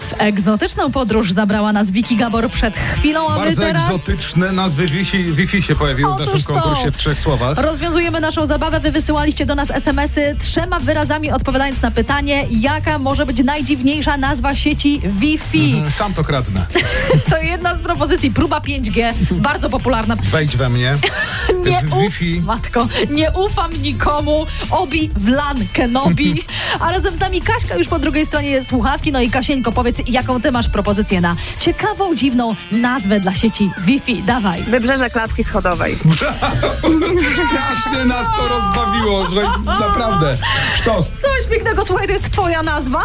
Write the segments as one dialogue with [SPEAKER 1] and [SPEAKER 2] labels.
[SPEAKER 1] W egzotyczną podróż zabrała nas Wiki Gabor przed chwilą, a my
[SPEAKER 2] Bardzo
[SPEAKER 1] teraz
[SPEAKER 2] egzotyczne nazwy Wi-Fi, Wi-Fi się pojawiły w
[SPEAKER 1] Otóż
[SPEAKER 2] naszym
[SPEAKER 1] to.
[SPEAKER 2] konkursie w trzech słowach.
[SPEAKER 1] rozwiązujemy naszą zabawę. Wy wysyłaliście do nas SMS-y trzema wyrazami odpowiadając na pytanie, jaka może być najdziwniejsza nazwa sieci Wi-Fi.
[SPEAKER 2] Mm, Sam to kradnę.
[SPEAKER 1] To jedna z propozycji. Próba 5G, bardzo popularna.
[SPEAKER 2] Wejdź we mnie.
[SPEAKER 1] Nie
[SPEAKER 2] W Wi-Fi.
[SPEAKER 1] uf, matko, nie ufam nikomu. Obi Wlan Kenobi. A razem z nami Kaśka już po drugiej stronie jest słuchawki. No i Kasieńko, powiedz, jaką ty masz propozycję na ciekawą, dziwną nazwę dla sieci Wi-Fi. Dawaj.
[SPEAKER 3] Wybrzeże klatki schodowej.
[SPEAKER 2] Strasznie nas to rozbawiło, słuchaj, naprawdę. Sztos.
[SPEAKER 1] Coś pięknego, słuchaj, to jest twoja nazwa?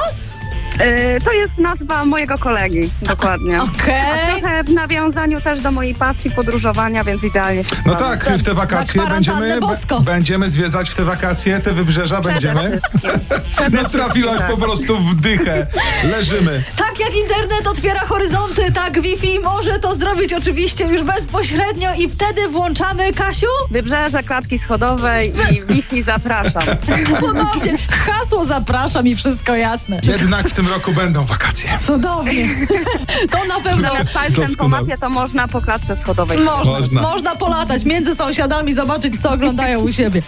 [SPEAKER 3] E, to jest nazwa mojego kolegi, dokładnie.
[SPEAKER 1] Okej.
[SPEAKER 3] Trochę w nawiązaniu też do mojej pasji podróżowania, więc idealnie się
[SPEAKER 2] No
[SPEAKER 3] składa.
[SPEAKER 2] tak, w te wakacje
[SPEAKER 1] na kwarantannę
[SPEAKER 2] będziemy,
[SPEAKER 1] bosko.
[SPEAKER 2] będziemy zwiedzać w te wakacje, te wybrzeża będziemy. No trafiłaś po prostu w dychę. Leżymy.
[SPEAKER 1] Tak jak internet otwiera horyzonty, tak Wi-Fi może to zrobić oczywiście już bezpośrednio i wtedy włączamy, Kasiu?
[SPEAKER 3] Wybrzeże klatki schodowej i Wi-Fi zapraszam.
[SPEAKER 1] Cudownie. Hasło zapraszam i wszystko jasne.
[SPEAKER 2] Jednak w tym roku będą wakacje.
[SPEAKER 1] Cudownie. To na pewno
[SPEAKER 3] Zamiast palcem po
[SPEAKER 2] Doskonale.
[SPEAKER 3] mapie to można po klatce schodowej.
[SPEAKER 1] można.
[SPEAKER 2] Można.
[SPEAKER 1] Można. polatać między sąsiadami, zobaczyć, co oglądają u siebie.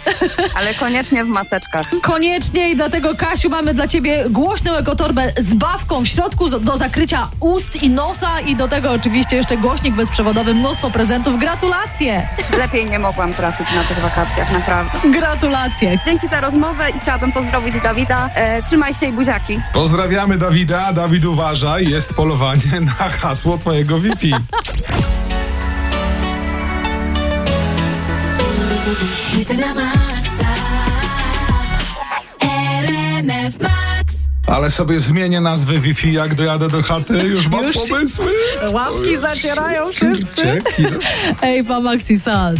[SPEAKER 3] Ale koniecznie w maseczkach.
[SPEAKER 1] Koniecznie i dlatego, Kasiu, mamy dla ciebie głośną ekotorbę z bawką w środku z- do zakrycia ust i nosa i do tego oczywiście jeszcze głośnik bezprzewodowy, mnóstwo prezentów. Gratulacje!
[SPEAKER 3] Lepiej nie mogłam trafić na tych wakacjach, naprawdę.
[SPEAKER 1] Gratulacje!
[SPEAKER 3] Dzięki za rozmowę i chciałabym pozdrowić Dawida. E, trzymaj się i buziaki.
[SPEAKER 2] Pozdrawiamy Dawida. Dawid uważaj, jest polowanie na hasło twojego Wi-Fi.
[SPEAKER 4] Hity na maksa. RMF Max.
[SPEAKER 2] Ale sobie zmienię nazwy Wi-Fi, jak dojadę do chaty. Już mam pomysły.
[SPEAKER 1] Ławki zacierają
[SPEAKER 2] Dzięki.
[SPEAKER 1] Ej, pa Maxi Sal.